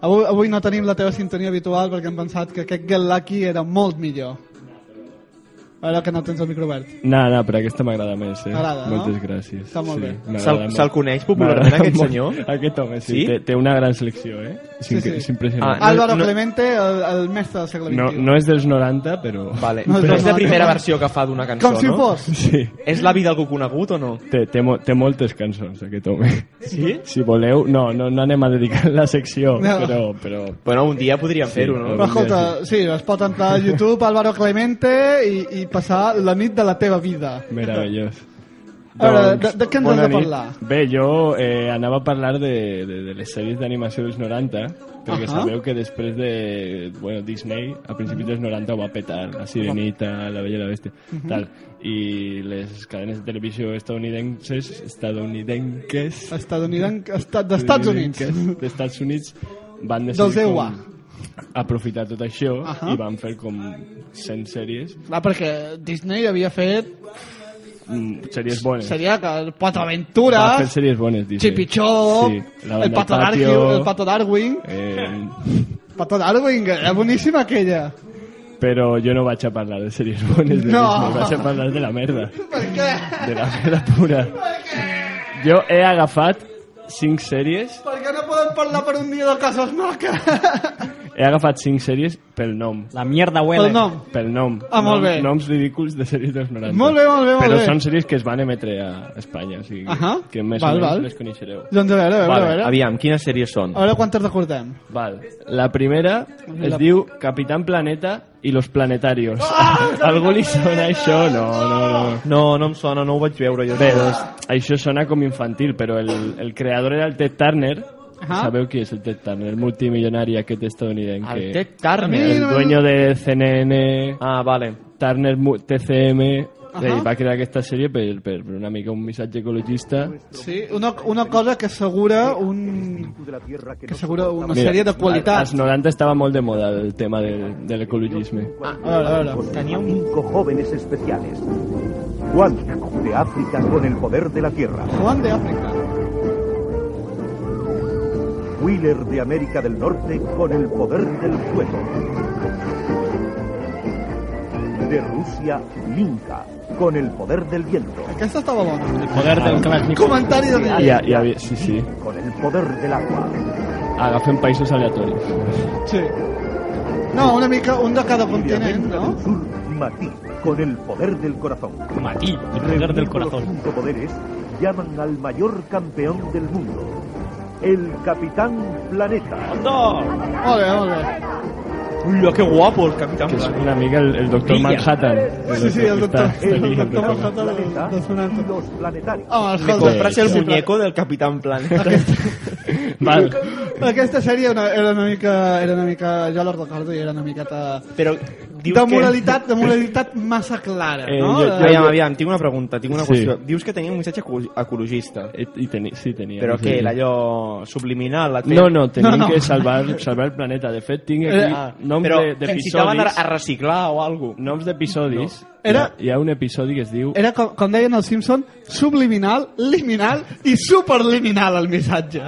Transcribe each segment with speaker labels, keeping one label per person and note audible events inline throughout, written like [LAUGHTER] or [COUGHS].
Speaker 1: Avui, avui no tenim la teva sintonia habitual perquè hem pensat que aquest Get Lucky era molt millor. Ara que no tens el micro obert.
Speaker 2: No, no, però aquesta m'agrada més, eh?
Speaker 1: T'agrada, no?
Speaker 2: Moltes gràcies.
Speaker 1: Està molt bé.
Speaker 2: m'agrada
Speaker 3: Se'l-
Speaker 2: molt.
Speaker 3: se'l coneix popularment,
Speaker 2: M'agrada
Speaker 3: aquest
Speaker 2: molt.
Speaker 3: senyor?
Speaker 2: [LAUGHS] Aquest home, sí.
Speaker 3: Sí?
Speaker 2: Té, té una gran selecció, eh? És,
Speaker 1: Sí,
Speaker 2: sí,
Speaker 1: sí.
Speaker 2: sí. és impressionant.
Speaker 3: Ah,
Speaker 1: Álvaro
Speaker 3: no-
Speaker 1: Clemente, el, el mestre del segle
Speaker 2: no,
Speaker 1: XXI.
Speaker 2: no és dels 90, però...
Speaker 3: [LAUGHS] Vale.
Speaker 1: No,
Speaker 3: No, però
Speaker 1: no,
Speaker 3: és la
Speaker 1: no,
Speaker 3: primera
Speaker 1: no.
Speaker 3: versió que fa d'una cançó,
Speaker 1: Com si
Speaker 3: no?
Speaker 1: fos.
Speaker 2: [LAUGHS] Sí.
Speaker 3: És l'avi d'algú conegut o no?
Speaker 2: Té, té, mo té moltes cançons, aquest home. [LAUGHS]
Speaker 3: Sí?
Speaker 2: Si voleu... No, no, no anem a dedicar la secció,
Speaker 1: No.
Speaker 2: no. però... però...
Speaker 3: Bueno, un dia podríem
Speaker 2: Sí,
Speaker 3: fer-ho,
Speaker 1: Però
Speaker 3: no?
Speaker 2: algun
Speaker 1: escolta, sí, es pot entrar a YouTube Álvaro Clemente i, i passar la nit de la teva vida.
Speaker 2: Meravellós. Doncs,
Speaker 1: A veure, de- de què ens
Speaker 2: bona
Speaker 1: has de
Speaker 2: nit.
Speaker 1: parlar?
Speaker 2: Bé, jo eh, anava a parlar de, de, de les sèries d'animació dels 90, perquè
Speaker 1: Ahà.
Speaker 2: sabeu que després de... Bueno, Disney, a principis dels 90 ho va petar, la Sirenita, la Bella i la Bestia,
Speaker 1: Mhm.
Speaker 2: tal. I les cadenes de televisió estadounidenses, estadounidenques...
Speaker 1: Estadounidenc... Estat d'Estats Units.
Speaker 2: estadounidenques D'Estats Units van
Speaker 1: Dels
Speaker 2: decidir
Speaker 1: EUA.
Speaker 2: com aprofitar tot això
Speaker 1: Ahà.
Speaker 2: i van fer com 100 sèries
Speaker 1: Clar, Ah, perquè Disney havia fet...
Speaker 2: mm, sèries bones
Speaker 1: Seria que
Speaker 2: Va fer
Speaker 1: Potaventures,
Speaker 2: sèries bones, dice.
Speaker 1: Chipichó,
Speaker 2: Sí, la
Speaker 1: el
Speaker 2: banda
Speaker 1: Pato
Speaker 2: patio,
Speaker 1: Darwin, el Pato Darwin...
Speaker 2: Eh,
Speaker 1: Pato Darwin, era boníssima aquella.
Speaker 2: però jo no vaig a parlar de sèries bones. De
Speaker 1: No.
Speaker 2: Disney, vaig a parlar de la merda.
Speaker 1: Per què?
Speaker 2: De la merda pura. Jo he agafat cinc sèries,
Speaker 1: Per què no podem parlar per un dia de cases maques?
Speaker 2: he agafat cinc sèries pel nom.
Speaker 4: La mierda huele.
Speaker 2: Pues
Speaker 1: El nom.
Speaker 2: Pel nom.
Speaker 1: Ah, molt bé.
Speaker 2: Noms ridículs de sèries dels 90.
Speaker 1: Molt bé, molt bé, molt
Speaker 2: Però
Speaker 1: bé.
Speaker 2: són sèries que es van emetre a Espanya, o sigui,
Speaker 1: Ahà.
Speaker 2: que més
Speaker 1: Val,
Speaker 2: o menys
Speaker 1: val.
Speaker 2: les coneixereu.
Speaker 1: Doncs a veure, a veure,
Speaker 2: Vale,
Speaker 1: a veure.
Speaker 3: Aviam, quines sèries són?
Speaker 1: A veure quantes recordem.
Speaker 2: Val. La primera es
Speaker 1: La- Ah,
Speaker 2: diu Capitán Planeta i los planetarios. [LAUGHS] Algú li sona això? No, no, no.
Speaker 3: No, no em sona, no ho vaig veure jo.
Speaker 2: Bé, doncs, això sona com infantil, però el, el creador era el Ted Turner.
Speaker 1: Ajá.
Speaker 2: Sabeu qui és el Ted Turner? El multimillonari aquest estadounidense.
Speaker 3: El Ted
Speaker 1: A mi-
Speaker 3: Turner.
Speaker 2: El dueño de CNN,
Speaker 3: Ah, vale.
Speaker 2: Turner Mu- TCM...
Speaker 1: Ajá.
Speaker 2: Ell va crear aquesta sèrie per, per, per una mica un missatge ecologista.
Speaker 1: Sí, una, una cosa que assegura un... que assegura una sèrie de qualitat.
Speaker 2: Als 90 estava molt de moda el tema del, de l'ecologisme.
Speaker 5: Ah,
Speaker 1: A veure, a veure.
Speaker 5: Tenía cinco jóvenes especiales. Juan, de África con el poder de la tierra.
Speaker 1: Juan de África.
Speaker 5: Wheeler de América del Norte con el poder del fuego. De Rusia, Minka con el poder del viento.
Speaker 1: Aquesta estava bona.
Speaker 4: Poder del Kalashnikov.
Speaker 1: Comentari de
Speaker 2: I,
Speaker 1: Miguel.
Speaker 2: a- i, havia- sí, sí.
Speaker 5: Con el poder del agua.
Speaker 2: Agafem països aleatoris.
Speaker 1: Sí. No, una mica, un de cada
Speaker 5: Y de
Speaker 1: continent,
Speaker 5: América
Speaker 1: no?
Speaker 5: del Sur, Matí con el poder del corazón.
Speaker 4: Matí, el poder del
Speaker 5: Los
Speaker 4: corazón.
Speaker 5: cinco poderes llaman al mayor campeón del mundo. El Capitán Planeta.
Speaker 3: Anda!
Speaker 1: Molt bé, molt bé.
Speaker 3: Ui, que guapo el Capitán
Speaker 2: Que és
Speaker 3: Planeta.
Speaker 2: una mica el, el doctor
Speaker 3: Brilla.
Speaker 2: Manhattan.
Speaker 1: Sí, sí, el doctor,
Speaker 2: Està- està aquí,
Speaker 1: el doctor
Speaker 2: Manhattan.
Speaker 1: Manhattan
Speaker 5: Planeta
Speaker 1: del
Speaker 5: y
Speaker 1: sonant.
Speaker 5: los planetarios.
Speaker 1: Home,
Speaker 3: Me
Speaker 1: escolta,
Speaker 3: compras el
Speaker 1: sí, però-
Speaker 3: muñeco del Capitán [LAUGHS] Planeta.
Speaker 2: Val.
Speaker 1: Aquesta sèrie una, era una mica... Era una mica jo la recordo i era una miqueta...
Speaker 3: Però dius
Speaker 1: de
Speaker 3: que...
Speaker 1: moralitat, de moralitat massa clara,
Speaker 2: Eh,
Speaker 1: no?
Speaker 2: jo-
Speaker 1: De-
Speaker 3: Aviam, aviam, tinc una pregunta, tinc una
Speaker 2: Sí.
Speaker 3: qüestió. Dius que tenia un missatge eco- ecologista.
Speaker 2: I, i teni, sí, tenia.
Speaker 3: Però
Speaker 2: sí.
Speaker 3: què, allò subliminal? La
Speaker 2: No, no, tenim
Speaker 1: No, no.
Speaker 2: que salvar, salvar el planeta. De fet, tinc aquí
Speaker 1: Ah,
Speaker 2: noms
Speaker 3: però
Speaker 2: de-
Speaker 3: que incitaven a,
Speaker 2: d'episodis.
Speaker 3: a reciclar o alguna cosa.
Speaker 2: Noms d'episodis.
Speaker 1: Era- Eh.
Speaker 2: Hi ha- Hi ha un episodi que es diu...
Speaker 1: Era, com, com deien els Simpson, subliminal, liminal i superliminal el missatge.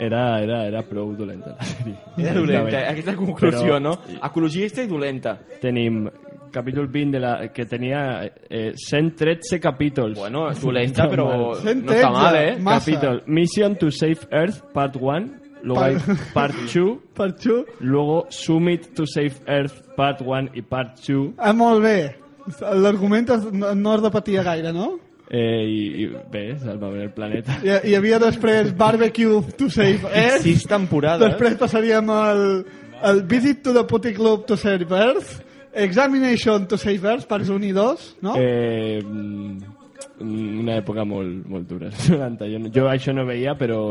Speaker 2: Era, era, era prou dolenta la sèrie.
Speaker 3: Era Eh, dolenta, aquesta conclusió, no? Ecologista i dolenta.
Speaker 2: Tenim capítol 20 de la, que tenia eh, 113 capítols.
Speaker 3: Bueno, és dolenta, però
Speaker 1: Cent
Speaker 3: no està mal, eh?
Speaker 1: massa.
Speaker 2: Capítol Mission to Save Earth Part 1, luego
Speaker 1: Part-
Speaker 2: hay [LAUGHS] Part 2,
Speaker 1: Per tu?
Speaker 2: luego Summit to Save Earth Part 1 y Part 2
Speaker 1: Ah, molt bé. L'argument es- no, no es repetia gaire, no?
Speaker 2: eh, i, i bé, salvament el [LAUGHS] planeta.
Speaker 1: Hi, hi havia després Barbecue to Save Earth,
Speaker 3: Sis temporades.
Speaker 1: Eh? després passaríem al, al Visit to the Putty Club to Save Earth, Examination to Save Earth, parts 1 i 2, no?
Speaker 2: Eh, mm, una època molt, molt dura. [LAUGHS] els 90. Jo, no- jo això no veia, però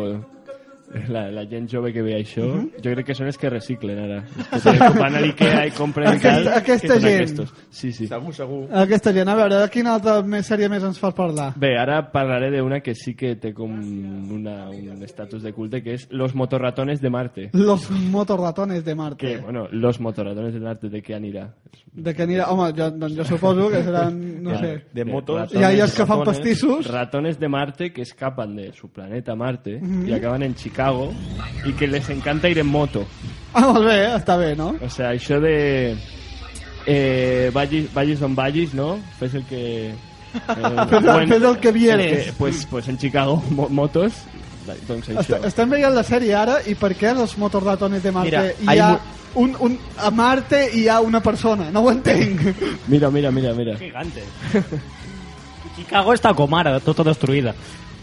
Speaker 2: la, la gent jove que veia això, jo crec que són els que reciclen ara. Els que van [LAUGHS] a l'Ikea i compren i
Speaker 1: Aquesta-
Speaker 2: tal,
Speaker 1: aquesta
Speaker 2: que són
Speaker 1: gent.
Speaker 2: Aquestos. Sí, sí.
Speaker 3: Segur, segur.
Speaker 1: Aquesta gent, a veure, de quina altra més sèrie més ens fa parlar?
Speaker 2: Bé, ara parlaré d'una que sí que té com una, un estatus de culte, que és Los motorratones de Marte.
Speaker 1: Los motorratones de Marte.
Speaker 2: Que, bueno, Los motorratones de Marte, ¿de qué anirá?
Speaker 1: De que anirà... Home, jo, doncs jo suposo que seran, no
Speaker 2: Ja.
Speaker 1: sé...
Speaker 3: De
Speaker 2: De
Speaker 3: motos.
Speaker 2: ratones,
Speaker 1: Hi ha els que fan
Speaker 3: ratones.
Speaker 1: pastissos...
Speaker 2: Ratones de Marte que escapan de su planeta Marte y acaban en Chicago, Chicago i que les encanta ir en moto.
Speaker 1: Ah, molt bé, està bé, no?
Speaker 2: O sea, això de... Eh, vagis, vagis on vagis, no? Fes el que... eh,
Speaker 1: Fes el- fes el que vieres.
Speaker 2: que- pues, pues en Chicago, mo motos, doncs això.
Speaker 1: Est [LAUGHS] estem veient la sèrie ara i per què els motorratones de Marte
Speaker 3: Mira,
Speaker 1: hi
Speaker 3: hay
Speaker 1: ha
Speaker 3: mu-
Speaker 1: un, un, a Marte hi ha una persona? No ho entenc.
Speaker 2: Mira, mira, mira, mira.
Speaker 4: Gigante. Chicago està com ara, tota destruïda.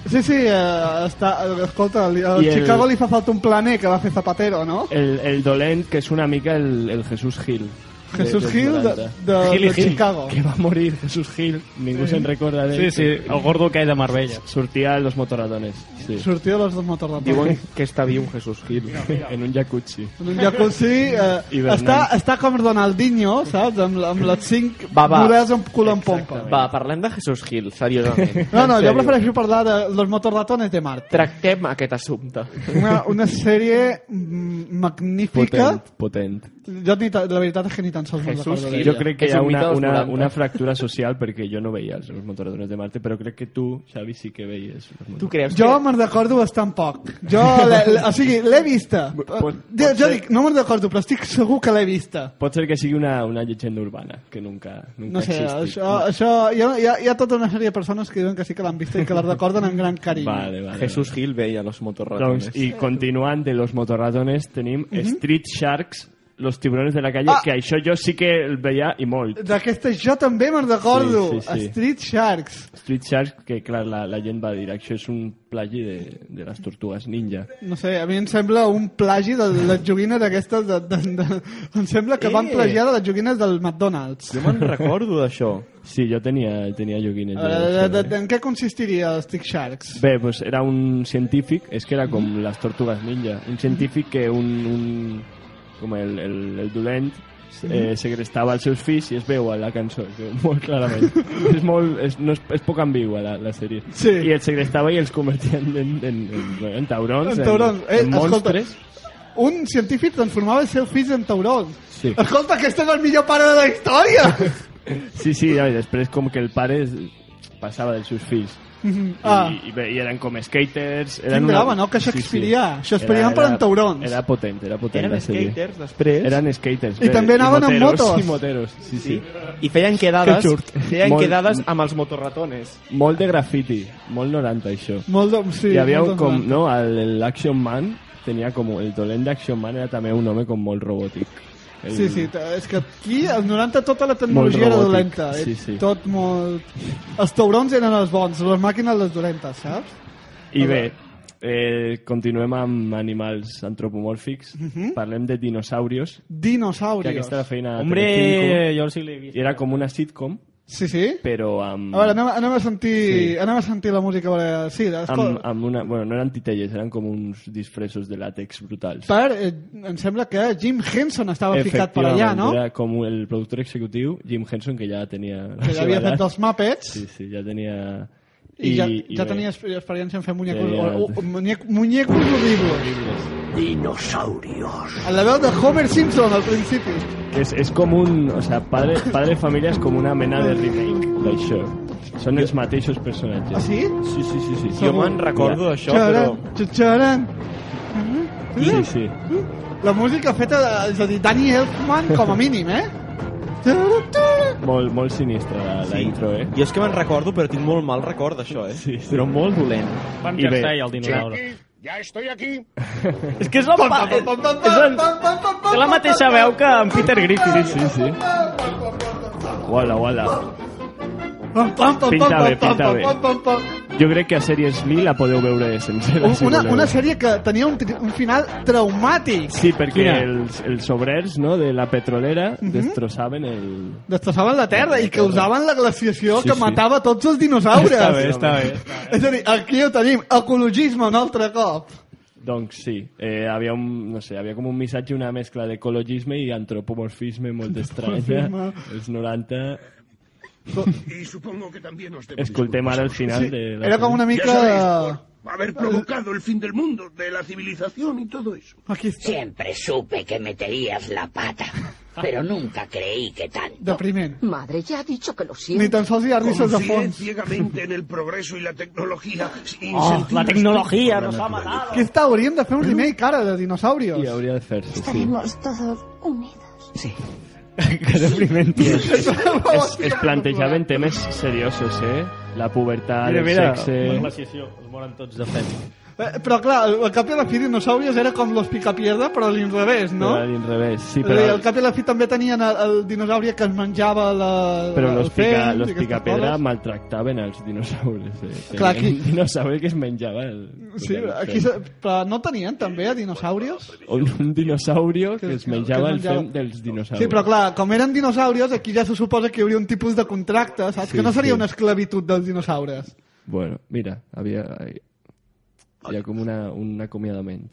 Speaker 1: Sí, sí, eh, està, eh, escolta, li, a
Speaker 2: I el-
Speaker 1: Chicago li fa falta un planer que va fer Zapatero, no?
Speaker 2: El, el dolent, que és una mica el, el Jesús Gil. de-
Speaker 1: Jesús
Speaker 2: dels
Speaker 1: Hill de,
Speaker 2: 90.
Speaker 1: de,
Speaker 4: Hill i
Speaker 1: de
Speaker 4: Hill.
Speaker 1: Chicago.
Speaker 2: Que va morir Jesús Gil, ningú se'n recorda d'ell.
Speaker 4: Sí, sí, el gordo que hay de Marbella.
Speaker 2: Sortia en los motoratones, sí.
Speaker 1: Sortia dels dos motorratones.
Speaker 3: Diuen que està viu Jesús Gil.
Speaker 2: en un jacuzzi.
Speaker 1: En un jacuzzi eh,
Speaker 2: Hivernant.
Speaker 1: està, està com Ronaldinho, saps? Amb, la- amb les cinc
Speaker 3: Va, va.
Speaker 1: muralles amb cul en pompa.
Speaker 3: Va, parlem de Jesús Gil, seriosament.
Speaker 1: [LAUGHS] No, no,
Speaker 3: En
Speaker 1: jo
Speaker 3: sèrio.
Speaker 1: prefereixo parlar de los motorratones de Marte.
Speaker 3: Tractem aquest assumpte.
Speaker 1: Una, una sèrie mm, magnífica.
Speaker 2: Potent, potent.
Speaker 1: Jo ni, ta- la veritat és que ni tan sols me'n
Speaker 3: Jesús
Speaker 1: recordo.
Speaker 3: Gil.
Speaker 2: Jo crec que hi
Speaker 3: És
Speaker 2: ha
Speaker 3: un mite
Speaker 2: una,
Speaker 3: dels
Speaker 2: una,
Speaker 3: 90.
Speaker 2: una fractura social perquè jo no veia els motoradores de Marte, però crec que tu, Xavi, sí que veies. els
Speaker 3: Tu
Speaker 2: motoradores.
Speaker 3: creus
Speaker 1: Jo
Speaker 3: que...
Speaker 1: me'n recordo bastant poc. Jo, l'he- l'he- o sigui, l'he vista.
Speaker 2: pot-
Speaker 1: Jo, jo dic, no me'n recordo, però estic segur que l'he vista.
Speaker 2: Pot ser que sigui una, una llegenda urbana, que nunca, nunca
Speaker 1: No sé,
Speaker 2: ha existit.
Speaker 1: això, això hi, ha, hi, ha, hi ha tota una sèrie de persones que diuen que sí que l'han vista i que la recorden amb gran carinyo.
Speaker 2: Vale, vale.
Speaker 3: Jesús Gil veia los motorratones.
Speaker 2: Doncs, I continuant de los motorratones tenim Street Sharks, los tiburones de la calle,
Speaker 1: Ah!
Speaker 2: que això jo sí que el veia i molt.
Speaker 1: D'aquesta jo també me'n recordo.
Speaker 2: Sí, sí, sí.
Speaker 1: Street Sharks.
Speaker 2: Street Sharks, que clar, la, la gent va dir, això és un plagi de, de les tortugues ninja.
Speaker 1: No sé, a mi em sembla un plagi de les joguines aquestes. De, de, de, em sembla que van
Speaker 3: Eh!
Speaker 1: plagiar de les joguines del McDonald's.
Speaker 3: Jo me'n recordo d'això.
Speaker 2: Sí, jo tenia, tenia joguines.
Speaker 1: A
Speaker 2: de-
Speaker 1: veure, de, de, en què consistiria els Stick Sharks?
Speaker 2: Bé, pues era un científic, es que era com les tortugues ninja, un científic que un, un com el, el, el dolent eh, segrestava els seus fills i es veu a la cançó, es veu molt
Speaker 1: [LAUGHS]
Speaker 2: clarament. és, molt, és, no és, és poc ambigua la, la sèrie.
Speaker 1: Sí.
Speaker 2: I els segrestava i els convertien en, en, en, en taurons,
Speaker 1: En taurons.
Speaker 2: Doncs, en,
Speaker 1: Eh,
Speaker 2: en
Speaker 1: escolta.
Speaker 2: monstres.
Speaker 1: Un científic transformava els seus fills en taurons.
Speaker 2: Sí.
Speaker 1: Escolta, aquest és el millor pare de la
Speaker 2: [LAUGHS]
Speaker 1: història!
Speaker 2: Sí, sí, i després com que el pare es, passava dels seus fills.
Speaker 1: ah,
Speaker 2: I, i, bé, i eren com skaters eren
Speaker 1: Quin drama, no? Que shakespearià. Shakespearià per en taurons.
Speaker 2: era potent, era potent
Speaker 3: Eren
Speaker 2: la sèrie.
Speaker 3: skaters després.
Speaker 2: Eren skaters.
Speaker 1: I també anaven amb
Speaker 2: moteros, [LAUGHS]
Speaker 1: motos.
Speaker 2: I moteros, sí, sí.
Speaker 3: Sí. I feien quedades,
Speaker 2: Que xurt.
Speaker 3: feien
Speaker 2: Molt-
Speaker 3: quedades amb els motorratones.
Speaker 2: Molt de graffiti, molt 90 això.
Speaker 1: molt de, sí,
Speaker 2: Hi havia
Speaker 1: molt
Speaker 2: un com,
Speaker 1: dominant.
Speaker 2: no, el, el Action Man, tenia com, el dolent d'Action Man era també un home com molt robòtic. El,
Speaker 1: Sí, sí, t- és que aquí, als 90, tota la tecnologia era
Speaker 2: robòtic,
Speaker 1: dolenta. eh?
Speaker 2: sí, sí.
Speaker 1: Tot molt... Els taurons eren els bons, les màquines les dolentes, saps?
Speaker 2: I bé, eh, continuem amb animals antropomòrfics. Parlem de dinosaurios, que
Speaker 1: Dinosaurios.
Speaker 2: aquesta era feina de Telecinco,
Speaker 4: Hombre, jo sí l'he
Speaker 2: Ah, i
Speaker 4: vist.
Speaker 2: era com una sitcom,
Speaker 1: Sí, sí?
Speaker 2: però amb...
Speaker 1: A veure, anem, anem a sentir...
Speaker 2: Sí.
Speaker 1: Anem a sentir la música. a veure, Sí,
Speaker 2: amb,
Speaker 1: escolta.
Speaker 2: amb una, bueno, no eren titelles, eren com uns disfressos de làtex brutals.
Speaker 1: Per, eh, em sembla que Jim Henson estava ficat per allà, no?
Speaker 2: Era com el productor executiu, Jim Henson, que ja tenia... la
Speaker 1: Que ja
Speaker 2: seva
Speaker 1: havia
Speaker 2: edat.
Speaker 1: fet els Muppets.
Speaker 2: Sí, sí, ja tenia...
Speaker 1: I, ja, ja
Speaker 2: bé,
Speaker 1: tenia exper- experiència en fer muñecos,
Speaker 2: Ja,
Speaker 1: ja,
Speaker 2: ja.
Speaker 1: O, o, muñec, muñecos horribles.
Speaker 5: Dinosaurios.
Speaker 1: A la veu de Homer Simpson al principi.
Speaker 2: És, és com un... O sea, padre, padre de Família és com una mena de remake d'això. Són els mateixos personatges.
Speaker 1: Ah, sí?
Speaker 2: Sí, sí, sí. sí.
Speaker 1: Segur.
Speaker 3: Jo me'n recordo
Speaker 2: Mira.
Speaker 3: d'això, però...
Speaker 1: xaran. Mm,
Speaker 2: Sí, sí.
Speaker 1: La música feta, de- és a dir, Danny Elfman com a mínim, eh? Txaran, txaran.
Speaker 2: Molt, molt sinistra la, la intro, eh?
Speaker 3: Jo és que me'n recordo, però tinc molt mal record d'això, eh?
Speaker 2: Sí, sí.
Speaker 3: Però molt dolent.
Speaker 4: Van
Speaker 2: I bé.
Speaker 4: Jersey, el dinosaure.
Speaker 6: Ya estoy aquí.
Speaker 4: [LAUGHS] És que és, el, pa-
Speaker 1: Pam, pam, pam,
Speaker 4: és, el,
Speaker 1: pam, pam, pam,
Speaker 4: té la mateixa veu que en Peter Griffin.
Speaker 2: Sí, sí. Uala, uala.
Speaker 1: pam, pam, pam,
Speaker 2: Pinta
Speaker 1: pam,
Speaker 2: bé,
Speaker 1: pam,
Speaker 2: pinta
Speaker 1: pam,
Speaker 2: bé.
Speaker 1: pam, pam, pam.
Speaker 2: Jo crec que a Sèries Lee la podeu veure sencera.
Speaker 1: Un-
Speaker 2: si
Speaker 1: Una,
Speaker 2: voleu.
Speaker 1: una sèrie que tenia un, tri- un final traumàtic.
Speaker 2: Sí, perquè
Speaker 4: Quina?
Speaker 2: els, els obrers no, de la petrolera destrossaven el...
Speaker 1: Destrossaven la Terra i causaven la glaciació
Speaker 2: Sí,
Speaker 1: que
Speaker 2: sí.
Speaker 1: matava tots els dinosaures.
Speaker 4: Està bé, està bé.
Speaker 1: És a dir, aquí ho tenim, ecologisme un altre cop.
Speaker 2: Doncs sí, eh, havia, un, no sé, havia com un missatge, una mescla d'ecologisme i antropomorfisme molt estranya. [LAUGHS]
Speaker 1: Antropomorfisme.
Speaker 2: Els 90...
Speaker 6: Y supongo que también os debéis
Speaker 2: Escoltem ara el final
Speaker 1: Sí,
Speaker 2: de... la
Speaker 1: era com una
Speaker 2: pel·li.
Speaker 6: Ya sabéis,
Speaker 1: mica...
Speaker 6: por haber provocado el fin del mundo, de la civilización y todo eso.
Speaker 1: Aquí està.
Speaker 7: Siempre supe que meterías la pata. Pero nunca creí que tan.
Speaker 1: Depriment.
Speaker 7: Madre, ya ha dicho que lo
Speaker 1: Ni
Speaker 7: siento.
Speaker 1: tan sols hi ha risses de
Speaker 6: Confié
Speaker 1: fons.
Speaker 6: ciegamente en el progreso y la tecnología sin
Speaker 4: Oh,
Speaker 6: sentir
Speaker 4: la tecnología nos ha
Speaker 6: naturaleza.
Speaker 4: matado.
Speaker 1: Que està, hauríem de fer un remake ara de dinosaurios.
Speaker 2: Y habría de hacerse, sí.
Speaker 8: Estaremos todos unidos.
Speaker 7: Sí.
Speaker 2: Que
Speaker 1: [LAUGHS]
Speaker 2: deprimente. Es, es, es plantejar en
Speaker 1: plantejaven
Speaker 2: temes seriosos, eh? La pubertat,
Speaker 4: Mira, mira,
Speaker 2: el sexe...
Speaker 4: la sessió, es moren tots de fet.
Speaker 1: Eh, Però clar, el cap i a la fi dinosaurios era com los picapierda, però a l'inrevés, no?
Speaker 2: Era al revés, sí,
Speaker 1: Però...
Speaker 2: però...
Speaker 1: Al cap i a la fi també tenien el, el dinosauri que es menjava la...
Speaker 2: Però
Speaker 1: el
Speaker 2: los, pica,
Speaker 1: fenc i
Speaker 2: los
Speaker 1: aquestes
Speaker 2: picapedra
Speaker 1: coses.
Speaker 2: maltractaven els dinosaures. Eh?
Speaker 1: Clar,
Speaker 2: Tenien
Speaker 1: aquí-
Speaker 2: un dinosaure que es menjava el...
Speaker 1: Sí,
Speaker 2: el-
Speaker 1: aquí se... però no tenien també a dinosaurios?
Speaker 2: Un, un dinosaurio que,
Speaker 1: Que-
Speaker 2: es
Speaker 1: que-
Speaker 2: menjava
Speaker 1: que
Speaker 2: el
Speaker 1: menjava-
Speaker 2: fem dels dinosaures.
Speaker 1: Sí, però clar, com eren dinosaurios, aquí ja se suposa que hi hauria un tipus de contracte, saps?
Speaker 2: Sí,
Speaker 1: que no seria
Speaker 2: sí.
Speaker 1: una esclavitud dels dinosaures.
Speaker 2: Bueno, mira, havia... Hi ha com una, un acomiadament.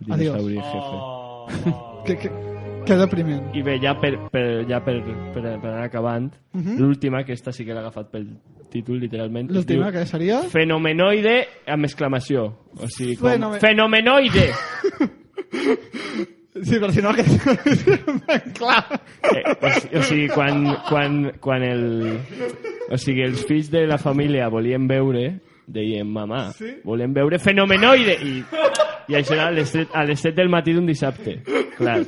Speaker 2: El
Speaker 1: Adiós.
Speaker 2: dinosauri jefe.
Speaker 1: Que, que, que depriment.
Speaker 2: I bé, ja per, per, ja per, per, per anar acabant, uh
Speaker 1: Mhm.
Speaker 2: -huh. l'última, que esta sí que l'ha agafat pel títol, literalment. es
Speaker 1: L'última,
Speaker 2: diu
Speaker 1: que seria?
Speaker 2: Fenomenoide amb exclamació. O sigui, com...
Speaker 1: Fenome-
Speaker 2: Fenomenoide!
Speaker 1: Sí, però si no... Que... clar.
Speaker 2: Eh, o, si- o sigui, quan, quan, quan el... O sigui, els fills de la família volien veure, deien, mamà,
Speaker 1: Sí?
Speaker 2: volem veure fenomenoide! I, i això era a les, set, a les 7 del matí d'un dissabte, clar.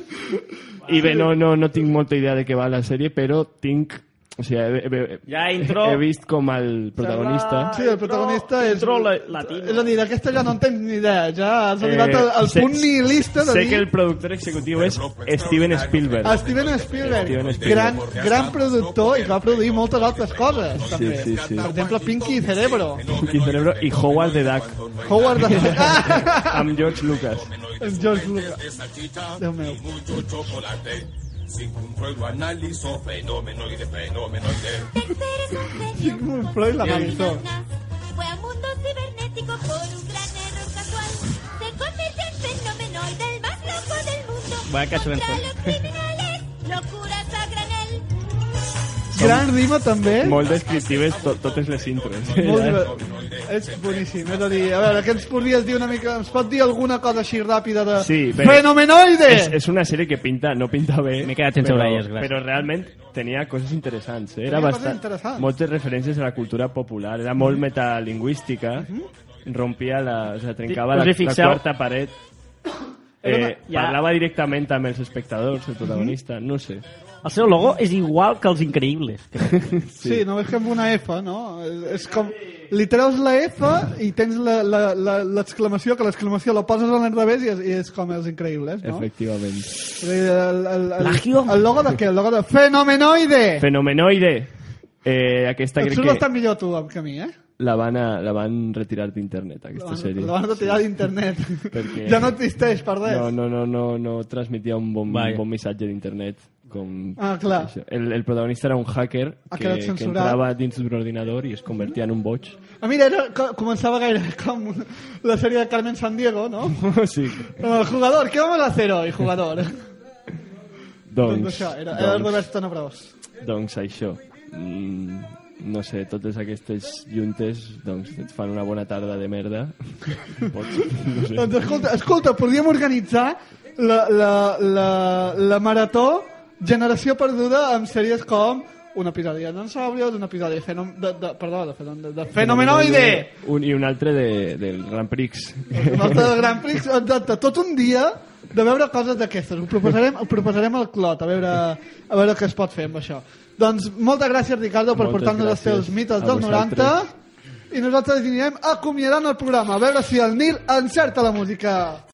Speaker 2: I bé, no, no, no tinc molta idea de què va la sèrie, però tinc... O sigui, he, he,
Speaker 4: Ja intro.
Speaker 2: he vist com el protagonista...
Speaker 1: [LAUGHS] Sí, el protagonista és...
Speaker 4: Intro la- latino.
Speaker 1: És a dir, d'aquesta ja no en tens ni idea. Ja has arribat al, al
Speaker 2: Eh, sé-
Speaker 1: punt nihilista de
Speaker 2: Sé
Speaker 1: dir...
Speaker 2: que el productor executiu és Steven Spielberg.
Speaker 1: A Steven Spielberg,
Speaker 2: Steven Spielberg.
Speaker 1: gran, gran productor i que va produir moltes altres coses, també.
Speaker 2: sí, sí.
Speaker 1: Per exemple, Pinky i Cerebro.
Speaker 2: Pinky Cerebro i Howard the Duck
Speaker 1: Howard
Speaker 2: [LAUGHS]
Speaker 1: the... Ah!
Speaker 2: amb George Lucas.
Speaker 1: El George Lucas. Déu meu. [LAUGHS] Sigmund Freud la analizó.
Speaker 8: Se fue al mundo cibernético por un gran error casual. Se convirtió en fenomenoide, el más loco del mundo.
Speaker 4: Vaya cacho
Speaker 8: Contra
Speaker 4: en-
Speaker 8: los criminales, locuras a granel.
Speaker 1: Gran rima, també.
Speaker 2: Molt descriptives to totes les intros. [LAUGHS]
Speaker 1: Molt divertit.
Speaker 2: eh?
Speaker 1: És boníssim. És a dir, a veure, què ens podries dir una mica... Ens pot dir alguna cosa així ràpida de...
Speaker 2: Sí, bé.
Speaker 1: Fenomenoide!
Speaker 2: És, és una sèrie que pinta, no pinta bé.
Speaker 4: M'he quedat sense
Speaker 2: però-
Speaker 4: orelles, gràcies.
Speaker 2: Però realment tenia coses interessants. Eh?
Speaker 1: Tenia
Speaker 2: Era
Speaker 1: coses
Speaker 2: bastant,
Speaker 1: interessants. Mm-hmm.
Speaker 2: moltes referències a la cultura popular. Era molt metalingüística. Rompia la... O sigui, trencava la,
Speaker 4: Us hi
Speaker 2: la
Speaker 4: fixeu?
Speaker 2: quarta paret.
Speaker 1: [COUGHS]
Speaker 2: Eh,
Speaker 4: Ja.
Speaker 2: Parlava directament amb els espectadors, el
Speaker 1: Mm-hmm.
Speaker 2: protagonista. No ho sé.
Speaker 4: El seu logo és igual que els increïbles.
Speaker 1: Sí, només que amb una F, no? És, és com... Li treus la F i tens la- la- la- l'exclamació, que l'exclamació la poses a l'enrevés i, és, i és com els increïbles, no?
Speaker 2: Efectivament.
Speaker 1: És a dir, El, el,
Speaker 4: Plagio.
Speaker 1: el, el logo de què? El logo de Fenomenoide!
Speaker 2: Fenomenoide. Eh, aquesta
Speaker 1: Et
Speaker 2: crec
Speaker 1: surt
Speaker 2: que
Speaker 1: bastant millor tu que a mi, eh?
Speaker 2: la van, a, la van retirar d'internet,
Speaker 1: La
Speaker 2: aquesta
Speaker 1: van,
Speaker 2: sèrie.
Speaker 1: la van retirar d'internet.
Speaker 2: [LAUGHS] Perquè-
Speaker 1: Ja no existeix per res.
Speaker 2: No, no, no, no, no transmetia un bon,
Speaker 4: Vaja.
Speaker 2: un bon missatge d'internet. Com...
Speaker 1: Ah, clar.
Speaker 2: Això. El, el protagonista era un hacker
Speaker 1: Ha
Speaker 2: que,
Speaker 1: quedat
Speaker 2: que
Speaker 1: censurat.
Speaker 2: entrava dins d'un ordinador i es convertia en un
Speaker 1: [LAUGHS]
Speaker 2: boig.
Speaker 1: Ah, mira, era, co- començava gaire [LAUGHS] com la sèrie de Carmen Sandiego, no?
Speaker 2: sí.
Speaker 1: El jugador, ¿qué vamos a hacer hoy, jugador? Doncs
Speaker 2: Doncs,
Speaker 1: això, era, era el
Speaker 2: doncs,
Speaker 1: Robert Tonabros.
Speaker 2: doncs això. Mm, no sé, totes aquestes juntes doncs, et fan una bona tarda de merda.
Speaker 1: [LAUGHS]
Speaker 2: Pots, no sé.
Speaker 1: Doncs escolta, escolta, podríem organitzar la, la, la, la marató Generació Perduda amb sèries com un episodi de dinosaurios, un episodi de, fenom de, de, perdó, de, fenom de, de fenomenoide,
Speaker 2: Un, I un altre de, del Grand Prix.
Speaker 1: un altre de Grand Prix, exacte, tot un dia de veure coses d'aquestes. Ho proposarem, ho proposarem al Clot, a veure, a veure què es pot fer amb això. Doncs moltes gràcies, Ricardo, per
Speaker 2: Moltes
Speaker 1: portar-nos els
Speaker 2: gràcies
Speaker 1: teus mites
Speaker 2: a
Speaker 1: del
Speaker 2: vosaltres.
Speaker 1: 90 i nosaltres anirem acomiadant el programa, a veure si el Nil encerta la música.